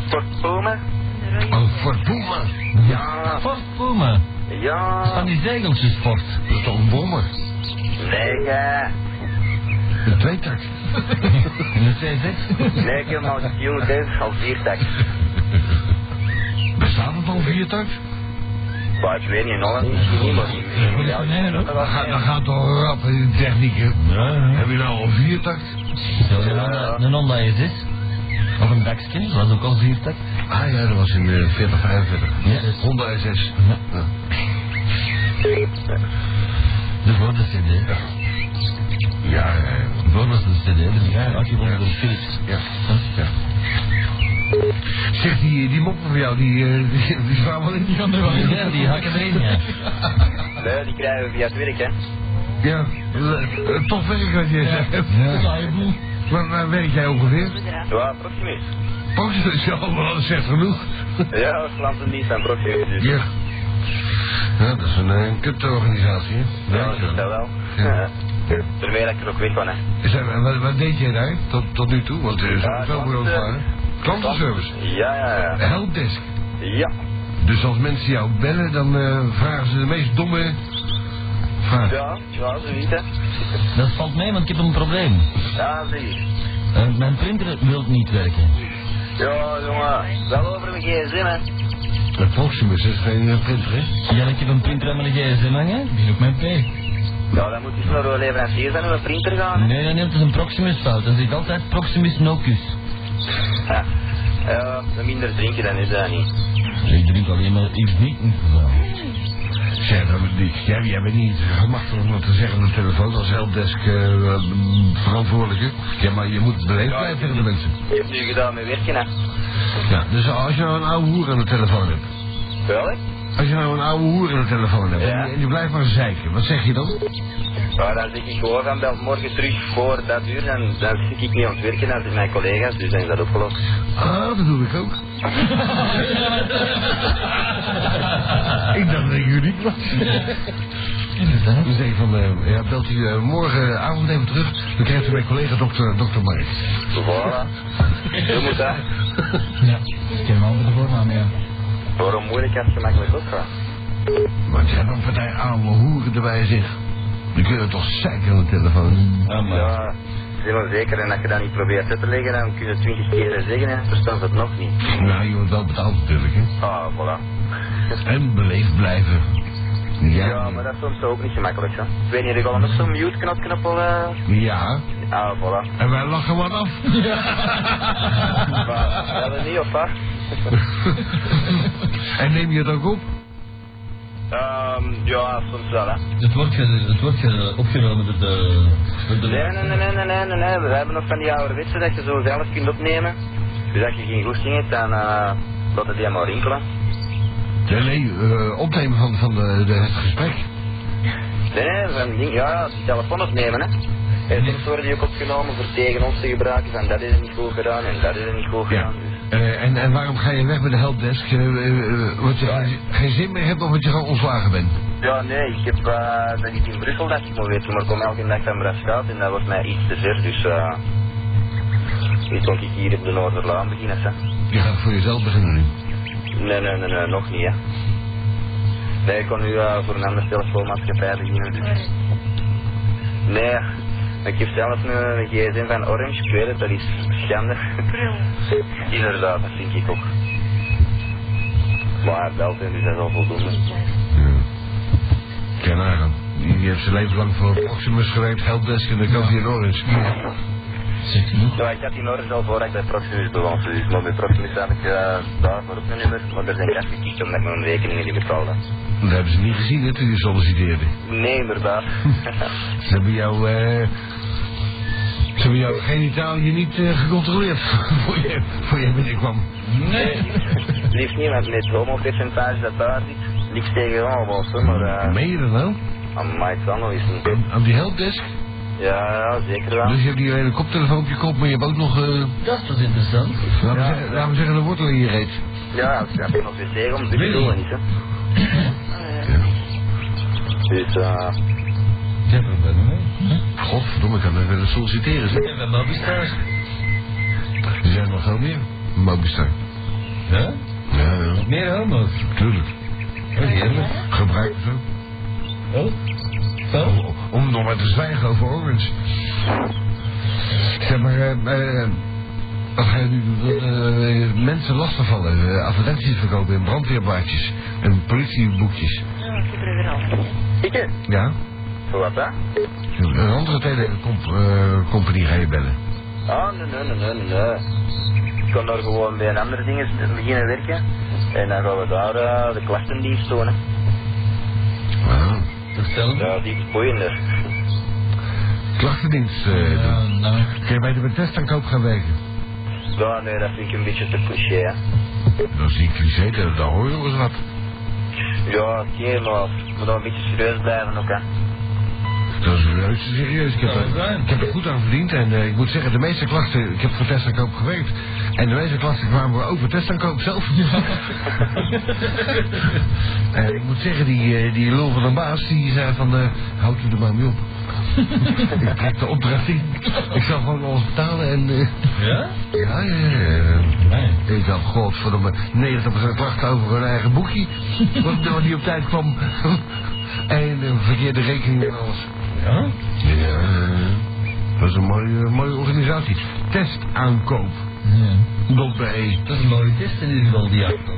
voor poma.
Oh, voor Puma.
Ja,
Fort puma. Van
ja.
die zegeltjes fort.
Dat is toch een bommer?
Nee, hè.
Een tweetak.
In de CZ.
Nee, ik heb al jong, deze al vier tak.
Bestaat het al vier tak?
Maar ik weet niet, nog een. Ja,
Nee, hoor.
Dat gaat, dat gaat toch rap in de techniek, hè?
Ja,
Heb je nou al vier tak?
Zo, een Honda- Een Honda is dit. Of een Dakskin, dat was ook al viertak.
Ah ja, dat was in eh, 40, 45.
Ja.
Honda SS.
Ja. De voorste CD.
Ja, ja, ja.
De voorste CD, dus ja, als je wordt door Philips.
Ja. Zeg, die, die moppen van jou, die, eh, die, die slaan wel in.
Die gaan er wel in, ja, die hakken erin, ja.
Nee, die krijgen we via het werk, hè.
Ja, eh, eh, tof werk wat je zegt. Waar, waar werk jij ongeveer?
Ja, Proximus.
Post zo, maar dat zegt genoeg.
Ja, klantendienst en Proximus. Dus.
Ja. Ja, dat is een, eh, een kutorganisatie, hè?
Ja, dat
Dankjewel.
wel.
Ja.
Terwijl ik er ook weg van, hè.
Zeg, en wat, wat deed jij daar tot, tot nu toe? Want er is
Ja, eh,
ook veel bureaus van,
klanten-
hè? Klantenservice.
Ja, ja, ja.
Helpdesk.
Ja,
Dus als mensen jou bellen, dan eh, vragen ze de meest domme vraag.
ja, ja, zoiets, hè.
Dat valt mee, want ik heb een probleem.
Ja, zoiets.
Eh, mijn printer wil niet werken.
Ja, jongen, wel over mijn gsm, hè.
De Proximus is geen eh, printer, hè?
Ja, ik heb een printer aan mijn gsm hangen. Ik ben ook mijn P.
Ja, dan moet je snel door leverancier zijn en een printer gaan, hè.
Nee, nee, nee, het is een Proximus fout. Dan zit altijd Proximus Nocus.
Ja, ja dan minder drinken dan is dat niet.
Ik drink alleen maar iets niet.
Zeg, dan, die, jij, jij bent niet gemachtigd om dat te zeggen op de telefoon als helpdesk eh, eh, verantwoordelijke. Ja, maar je moet beleefd blijven tegen de mensen.
Je hebt nu gedaan met werken, hè.
Ja, dus als je nou een oude hoer aan de telefoon hebt.
Wel, hè.
Als je nou een oude hoer aan de telefoon hebt
Ja.
en, die, en die blijft maar zeiken, wat zeg je dan?
Ja, dan zeg ik gewoon van bel morgen terug voor dat uur. Dan, dan zit ik niet aan het werken, dan zijn mijn collega's, dus dan is dat opgelost.
Ah, dat doe ik ook. ik dacht dat ik uniek was.
Inderdaad.
Dan zeg ik van, eh, ja, belt u eh, morgenavond even terug. Dan krijgt u mijn collega dokter, dokter Mark.
Voilà. Zo moet dat.
Ja, ik ken een andere voornaam, ja.
Waarom moeilijk als het gemakkelijk opgaat?
Wat zijn dan voor die oude hoeren erbij, zeg? Dan kun je toch zeiken aan de telefoon.
Ja, maar.
Ja, zijn wel zeker. En als je dat niet probeert uit te leggen, dan kun je het twintig keer zeggen en verstaan ze het nog niet.
Nou, je wordt wel betaald natuurlijk, hè.
Ah, voilà.
En beleefd blijven.
Ja, maar dat is soms ook niet gemakkelijk, hè. Ik weet niet, ik al nog zo'n mute-knopje op... eh,
Ja,
Ah, voilà.
en wij lachen wat af.
Maar, dat is niet, of wat?
en neem je het ook op?
Ehm, ja, soms wel, hè.
Het wordt, ge- het wordt ge- opgenomen door de... Door de
Nee, nee, nee, nee, nee, nee, nee, nee. We hebben nog van die oude witsen dat je zo zelf kunt opnemen. Dus als je geen goesting hebt, dan eh laat het die maar rinkelen.
Ja, nee, eh, opnemen van, van eh, de, de, het gesprek.
Nee, nee, van ding, ja, ja, die telefoon opnemen, hè. En soms worden die ook opgenomen voor tegen ons te gebruiken van dat is niet goed gedaan en dat is niet goed gedaan. Dus,
Eh, en, en waarom ga je weg met de helpdesk? Eh, eh, eh, wat je geen, geen zin meer hebt of wat je gewoon ontslagen bent?
ja, nee, ik heb eh dat niet in Brussel dat ik moet weten, maar ik kom elke dag van Braschaat en dat wordt mij iets te ver, dus eh nu kon ik hier op de Noorderlaan beginnen, hè.
Je gaat voor jezelf beginnen nu.
Nee, nee, nee, nee, nog niet, hè. Nee, ik kon nu eh, voor een andere telefoonmaatschappij beginnen, dus... Nee, ik heb zelf nu een gsm van Orange, ik weet het, dat is schande. Inderdaad, dat vind ik ook. Maar hij belt en dus dat is al voldoende.
Ken haar dan. Die die heeft zijn leven lang voor Proximus gewerkt, helpdesk en dan kan hij in Orange.
Zegt hij nog?
Ja, ik had die Orange al voor ik bij Proximus beland, dus maar bij Proximus had ik eh, daarvoor op mijn nummer, maar er zijn kansen gekikt omdat ik mijn rekeningen niet betaalde.
Dat hebben ze niet gezien hè, toen je solliciteerde.
Nee, inderdaad.
Ze hebben jou, eh, ze hebben jou genitaal hier niet eh, gecontroleerd voor je, voor je binnenkwam. Eh,
Nee.
Liefst niet, want met het homo-percentage dat daar zit, niks tegen homo's, hè, maar... eh,
Meen je dat nou? wel?
Amai, het kan wel eens een
Aan, aan die helpdesk?
Ja, ja, zeker wel.
Dus je hebt die hele koptelefoon op je kop, maar je hebt ook nog, eh,
Dat was interessant.
laten, we zeggen, laten we zeggen, een wortel in je reet.
Ja, ik heb nog weer tegen om te
Willy.
bedoelen, niet hè. Dus, eh...
Ik heb hem bij me.
Godverdomme, ik kan er willen solliciteren,
Ik
zeg.
heb hem opgestaan.
Er zijn nog veel meer. Mobistar.
Ja?
Ja, ja,
Meer homo's.
tuurlijk.
Oh, heerlijk.
Gebruik het ook.
Oh? Wel?
Om nog maar te zwijgen over Orange. Zeg maar, eh, eh, wat ga je nu doen? Eh, mensen lastigvallen, eh, advertenties verkopen in brandweerblaadjes en politieboekjes.
Ja, ik heb er weer al.
Ikke?
Ja?
Voor wat, hè?
Een andere telecompagnie ga je bellen.
Ah, nee, nee, nee, nee, nee, nee. Ik kan daar gewoon bij een ander ding beginnen werken. En dan gaan we daar eh, de klachtendienst doen, hè.
Wow.
Vertel hem.
Ja, die is boeiender.
Klachtendienst eh, doen.
Ja, nou.
Kun je bij de Bethesda-koop gaan werken?
Ja, nee, dat vind ik een beetje te cliché, hè.
Dat is niet cliché, dat, dat hoor je nog eens wat.
Ja, oké, maar we moeten wel een beetje serieus blijven ook, hè.
Dat is juist serieus. Ik heb,
Ja, dat is
er,
waar.
ik heb er goed aan verdiend en eh, ik moet zeggen, de meeste klachten, ik heb voor Test en Koop gewerkt. En de meeste klachten kwamen we over Test en Koop zelf. en ik moet zeggen, die, eh, die lul van de baas, die zei van, eh houd u er maar mee op. ik kreeg de opdracht in. Ik zal gewoon alles betalen en... eh,
Ja?
ja, ja, ja.
Nee.
Ik dacht, god, voor de 90% klachten over hun eigen boekje. Wat er niet op tijd kwam. en eh, verkeerde rekening en alles.
Ja?
Ja, dat is een mooie, mooie organisatie. Testaankoop.
Ja.
Dot BE.
Dat is een mooie test in ieder geval, die auto.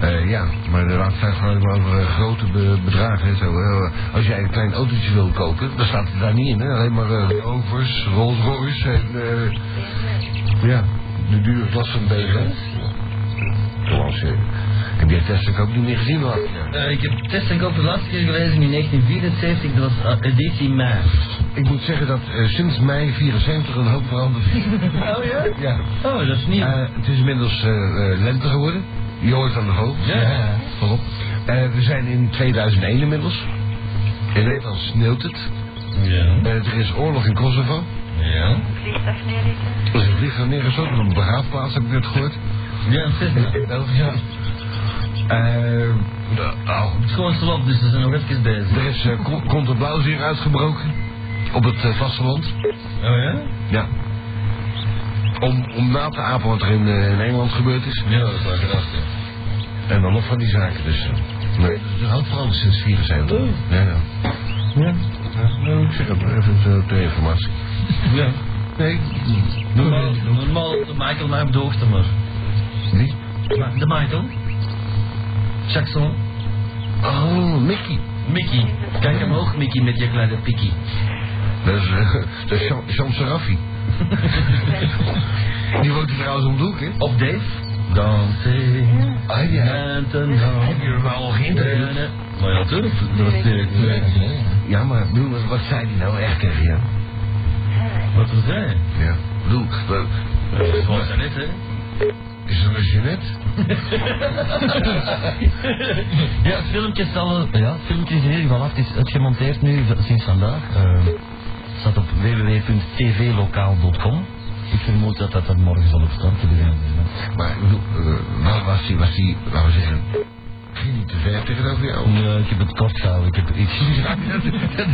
Eh, ja, maar de laatste tijd gaat het maar over eh, grote be- bedragen. Hè, zo, eh. als jij een klein autootje wil kopen, dan staat het daar niet in. Hè? Alleen maar eh, Rovers, Rolls Royce en... eh, ja, de dure klas van BV. Trouwens, eh, heb jij testaankoop niet meer gezien de laatste jaren?
Eh, ik heb test en koop de laatste keer gelezen in 1974, dat was eh, editie mei.
Ik moet zeggen dat eh, sinds mei 74 een hoop veranderd is.
Oh ja?
ja.
Oh, dat is niet.
Eh, het is inmiddels eh, eh, lente geworden. Je hoort aan de hoofd.
Ja.
Volop. Eh, we zijn in 2001 inmiddels. In Nederland sneeuwt het.
ja.
Eh, er is oorlog in Kosovo.
Ja.
Vliegtuig neerzetten.
Er is een vliegtuig neergeschoten op een begraafplaats, heb ik net gehoord.
Ja, het is niet.
In België. Eh, de- oh,
Het is gewoon slap, dus we zijn nog even bezig.
er is eh, con- contra-blauwzeer uitgebroken. Op het eh, vasteland.
Oh ja?
Ja. Om, om na te apen wat er in, eh, in Engeland gebeurd is.
Ja, dat is wel grappig.
En dan nog van die zaken dus. Nee, dat houdt vooral sinds 74. Ja, ja. Ja, nou, ik zeg het maar even eh, ter informatie.
Ja.
Nee,
Normaal, normaal de Michael mij op de hoogte maar.
Wie?
Ma- De Michael. Jackson.
Oh, Mickey.
Mickey. Kijk hem ook, Mickey, met je kleine pikkie.
Dat is, eh, dat is Jean, Jean Seraffi. Die woont hier trouwens om de hoek, hè?
Of Dave. Dancing.
Ah,
And Heb je wel al geïnterviewd? Maar ja, natuurlijk. Dat was direct.
Ja, maar ik bedoel, wat zei die nou echt tegen jou?
Wat was hij?
Ja. Ik bedoel, eh,
Dat was net, hè?
is er een Jeanette?
Ja, het filmpje is al, ja, het filmpje is in ieder geval af. Het is uitgemonteerd nu v- sinds vandaag. Eh, het staat op www.tvlokaal.com. Ik vermoed dat dat er morgen zal op stand te beginnen.
Maar ik bedoel, eh, waar was die, was die, laten we zeggen, ging die te ver tegenover jou?
Nee, eh, ik heb het kort gehouden. Ik heb iets.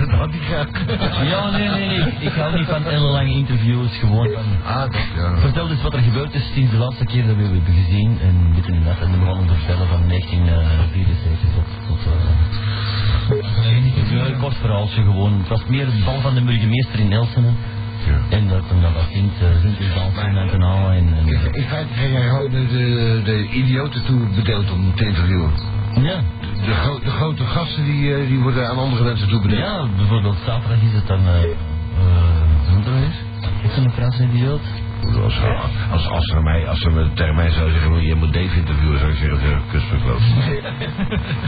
dat had hij graag.
Ja, nee, nee, nee. Ik hou niet van ellenlange interviews. Gewoon van.
Ah, dat, ja.
Vertel eens wat er gebeurd is sinds de laatste keer dat we hebben gezien. En dit en dat. En we begonnen te vertellen van 1974 tot. tot eh, ja, een kort verhaaltje gewoon. Het was meer het bal van de burgemeester in Elsene.
ja.
En dat hem dan dat kind uh, vindt in dansen en ten halen en, en
In in feite ging hij gewoon de, de, de idioten toe bedeeld om te interviewen.
ja.
De, gro- de grote gasten die, eh, die worden aan andere mensen toe bedeeld.
ja, bijvoorbeeld zaterdag is het dan eh eh, hoe heet dat weer? Is het een Franse idioot?
Als, als, als, ze mij, als ze me tegen mij zou zeggen, je moet Dave interviewen, zou ik zeggen, eh, kus van kloot.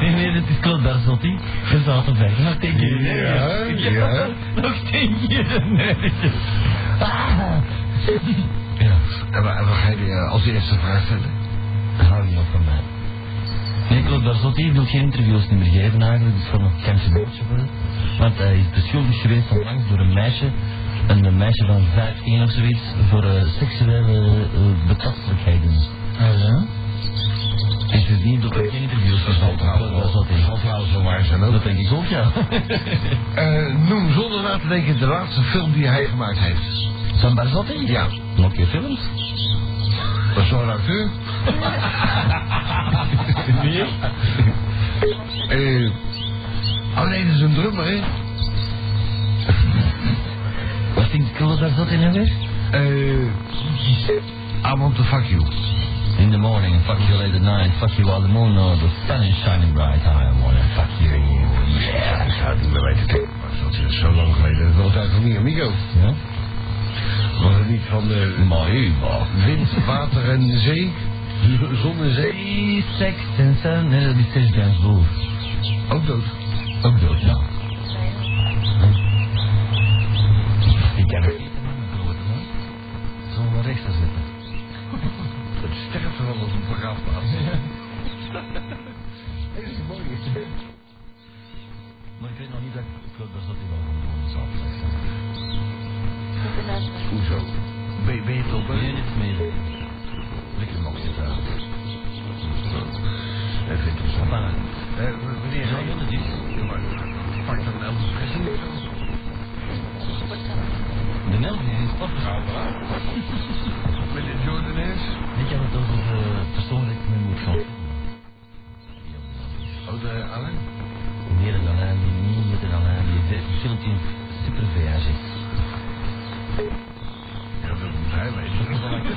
Nee, nee, dat is Claude Barzotti. Je zat erbij. Nog tien keer.
Ja, ja.
Nog tien keer. Nee. Ah. Ja,
En wa- en wat ga je eh, als eerste vraag stellen?
hou je op van mij. Nee, Claude Barzotti wil geen interviews meer geven eigenlijk, dus van een kantje boordje voor hem. Want hij is beschuldigd geweest onlangs door een meisje, een meisje van 15 of zoiets, voor eh, seksuele eh, betastelijkheden. Ah ja? En sindsdien doet hij dus geen interviews meer van Claude Barzotti.
zou zo waar zijn
Dat denk ik ook, ja.
Eh, noem zonder na te denken de laatste film die hij gemaakt heeft.
Van Barzotti?
Ja.
Nog geen films?
Dat is zo'n acteur.
Nee.
Eh, oh nee, dat is een drummer, hè?
Wat denk ik dat dat in hem is?
Eh, I want to fuck you.
In the morning, fuck you late at night, fuck you while the moon or the sun is shining bright, I wanna fuck you.
Ja, ik zou het niet meer weten. Maar Dat is zo lang geleden. Dat was uit van die Amigo.
Ja?
Was het niet van de
Maar u, maar.
wind, water en zee? Zon en zee?
Drie, seks en sun, nee, dat is Serge Gainsbourg.
Ook dood.
Ook dood, ja. Ik kan het niet. Zullen we rechts gaan zitten?
Het sterft wel op een begraafplaats. Dat is mooi.
Maar ik weet nog niet dat ik dat dat hij wel kon doen, zou ik zeggen.
Hoezo? Ben, ben je het op?
Nee, niks meer. Lekker nog zitten.
Even interessant.
Maar,
Eh, w- wanneer
ja,
ga
dat
je?
is...
Ja, maar Pak dan wel eens gezien.
De Nelson is in Portugal.
Met de Jordanes.
Ik heb het over de persoon die ik mee moet gaan.
Oh, de Alain.
Meer dan alleen, die niet meer dan alleen, die verschilt in super voyage.
Ja, dat moet hij weten.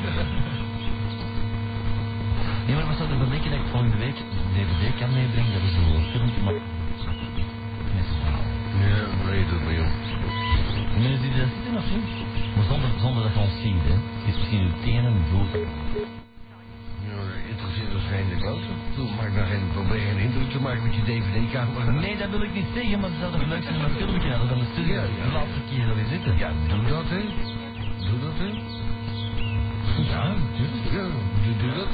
Nee, maar wat zou ervan denken dat ik volgende week een DVD kan meebrengen? Dat is een filmpje, maar... Met
Ja, weet het niet, joh.
Mensen die daar zitten of niet? Maar zonder, zonder dat je ons ziet, hè. Het is misschien uw tenen en bloed.
Ja, Interesseert ons geen de klote. Toen maak daar geen probeer geen indruk te maken met je DVD-camera.
Nee, dat wil ik niet zeggen, maar het zou toch leuk zijn om een filmpje hadden van de studio.
Ja, ja.
De laatste keer dat we zitten.
Ja, doe dat, hè. Doe dat, hè.
ja, natuurlijk.
Ja, doe, doe dat.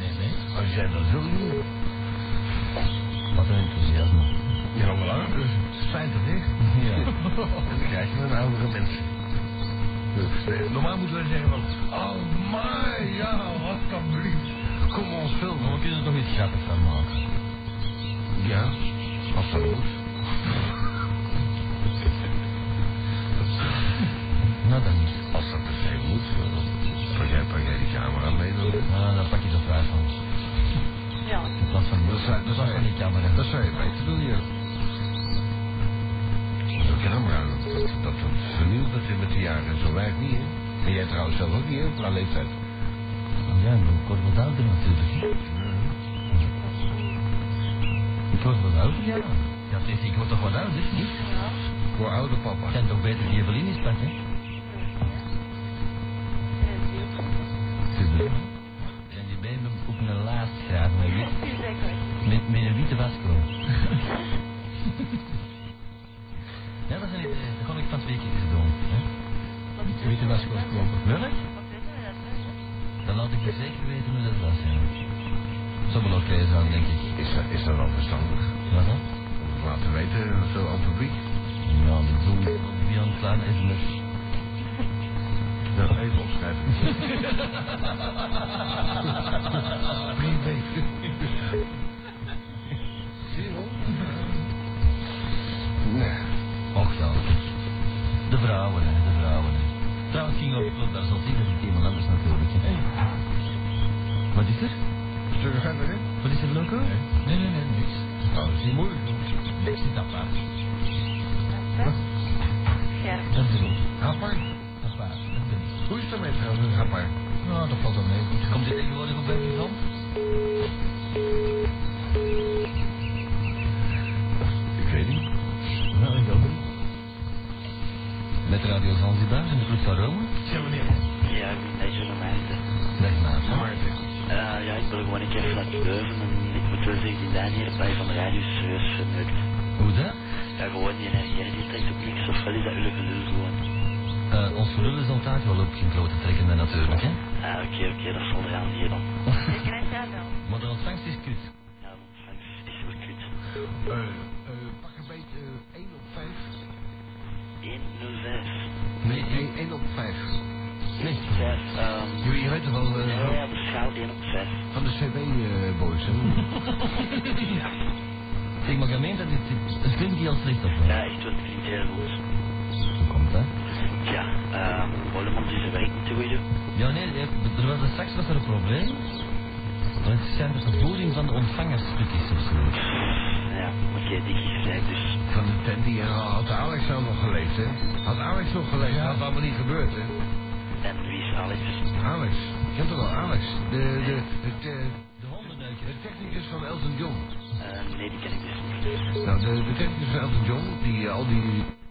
Nee, nee.
Als jij dat wil doen.
Wat een enthousiasme.
Ja, voilà. Dus het is fijn te dicht.
Ja.
En dan krijg je een oudere mensen. Dus, eh, Normaal moeten wij zeggen van, oh my, ja, wat alsjeblieft. Kom ons
Maar
filmen.
we kunnen er toch iets grappigs van maken.
Ja, als dat moet.
Nou, dan niet.
Als dat per se moet. eh, Pak jij, pak jij die camera mee dan.
Nou, dan pak je dat waar van.
Ja.
In plaats van,
Dat zou- dat
in plaats
zou-
van die camera.
Dat zou je beter doen, ja. Zo'n camera, dat, dat, dat vernieuwt dat weer met de jaren en zo werkt niet, hè? En jij trouwens zelf ook niet, hè, qua leeftijd.
Ja, ik ben kort wat ouder natuurlijk.
Eh,
Ik word wat ouder, ja. Ja, het is, ik word toch wat ouder, niet?
Voor oude papa.
Ik kan toch beter die Evelien eens pakken? En die benen op een laatst graad met, wit- met, met een witte waskroon. ja, dat, zijn, die- dat kon ik van twee keer doen. Hè? Witte waskroon kopen. Wil ik? Dan laat ik je zeker weten hoe dat was. ja. Zo wel oké zijn, denk ik.
Is, dat- is dat wel verstandig?
Wat dan?
Om het laten weten, zo aan het publiek.
Ja, dat doen we via een klein sms.
Ja, even opschrijven. Privé. Zie je wel? Nee.
Och ja. De vrouwen, hè, de vrouwen. hè. Trouwens, ging op, daar zat iedereen met iemand anders natuurlijk. hè. Wat is er?
Zullen we verder, hè?
Wat is er, Loco? Nee, nee, nee, niks.
Oh, dat is niet moeilijk.
Niks is apart.
Scherp.
Dat is goed.
Haat maar.
Dat is waar. Dat ben ik.
Hoe is het ermee trouwens? Haat maar.
Nou, dat valt wel mee. Goed. Komt dit tegenwoordig op bij van?
Ik weet niet.
Nou, ik ook Met Radio Zanzibar in de Groep van Rome?
Ja, ik ben John de Maarten.
Zeg maar.
Eh, ja, ik wil gewoon een keer flats durven. En ik moet wel zeggen, die Daan hier bij van de radio is serieus verneukt.
Hoe dat?
Ja, gewoon die energie, die trekt op niks. Of wel is dat jullie gelul gewoon.
Eh, ons verlullen zal daar wel op geen klote trekken, hè, natuurlijk, hè?
Ah, oké, oké, dat zal eraan hier dan.
Ik krijg jou wel.
Maar de ontvangst is kut.
Ja, de ontvangst is wel kut.
Eh, eh, pak een beetje eh, 1 op 5.
105.
Nee,
Nee, 1 op 5.
nee.
5, ehm...
Je, je weet toch wel eh,
Ja, ja, de schaal 1 op 5.
van de CW-boys, hè?
Zeg maar, gemeente, het, het, het klinkt heel slecht op.
Ja, echt wel, het klinkt heel goed.
Komt, hè?
Ja, ehm, Hollemans is zijn werk niet te goed doen.
Ja, nee, eh, er was er straks was er een probleem. Want het zijn de vervoering van de ontvangersstukjes of zo.
Ja, oké, dik is gelijk, dus...
Van de tent die ja, had Alex nou nog geleefd, hè? Had Alex nog geleefd, had dat allemaal niet gebeurd, hè?
En wie is Alex?
Alex, je hebt toch wel Alex? De, de, het, eh,
De hondenduikers.
de technicus van Elton John.
Eh, nee, die ken ik dus niet.
Nou, de, de technicus van Elton John, die eh, al die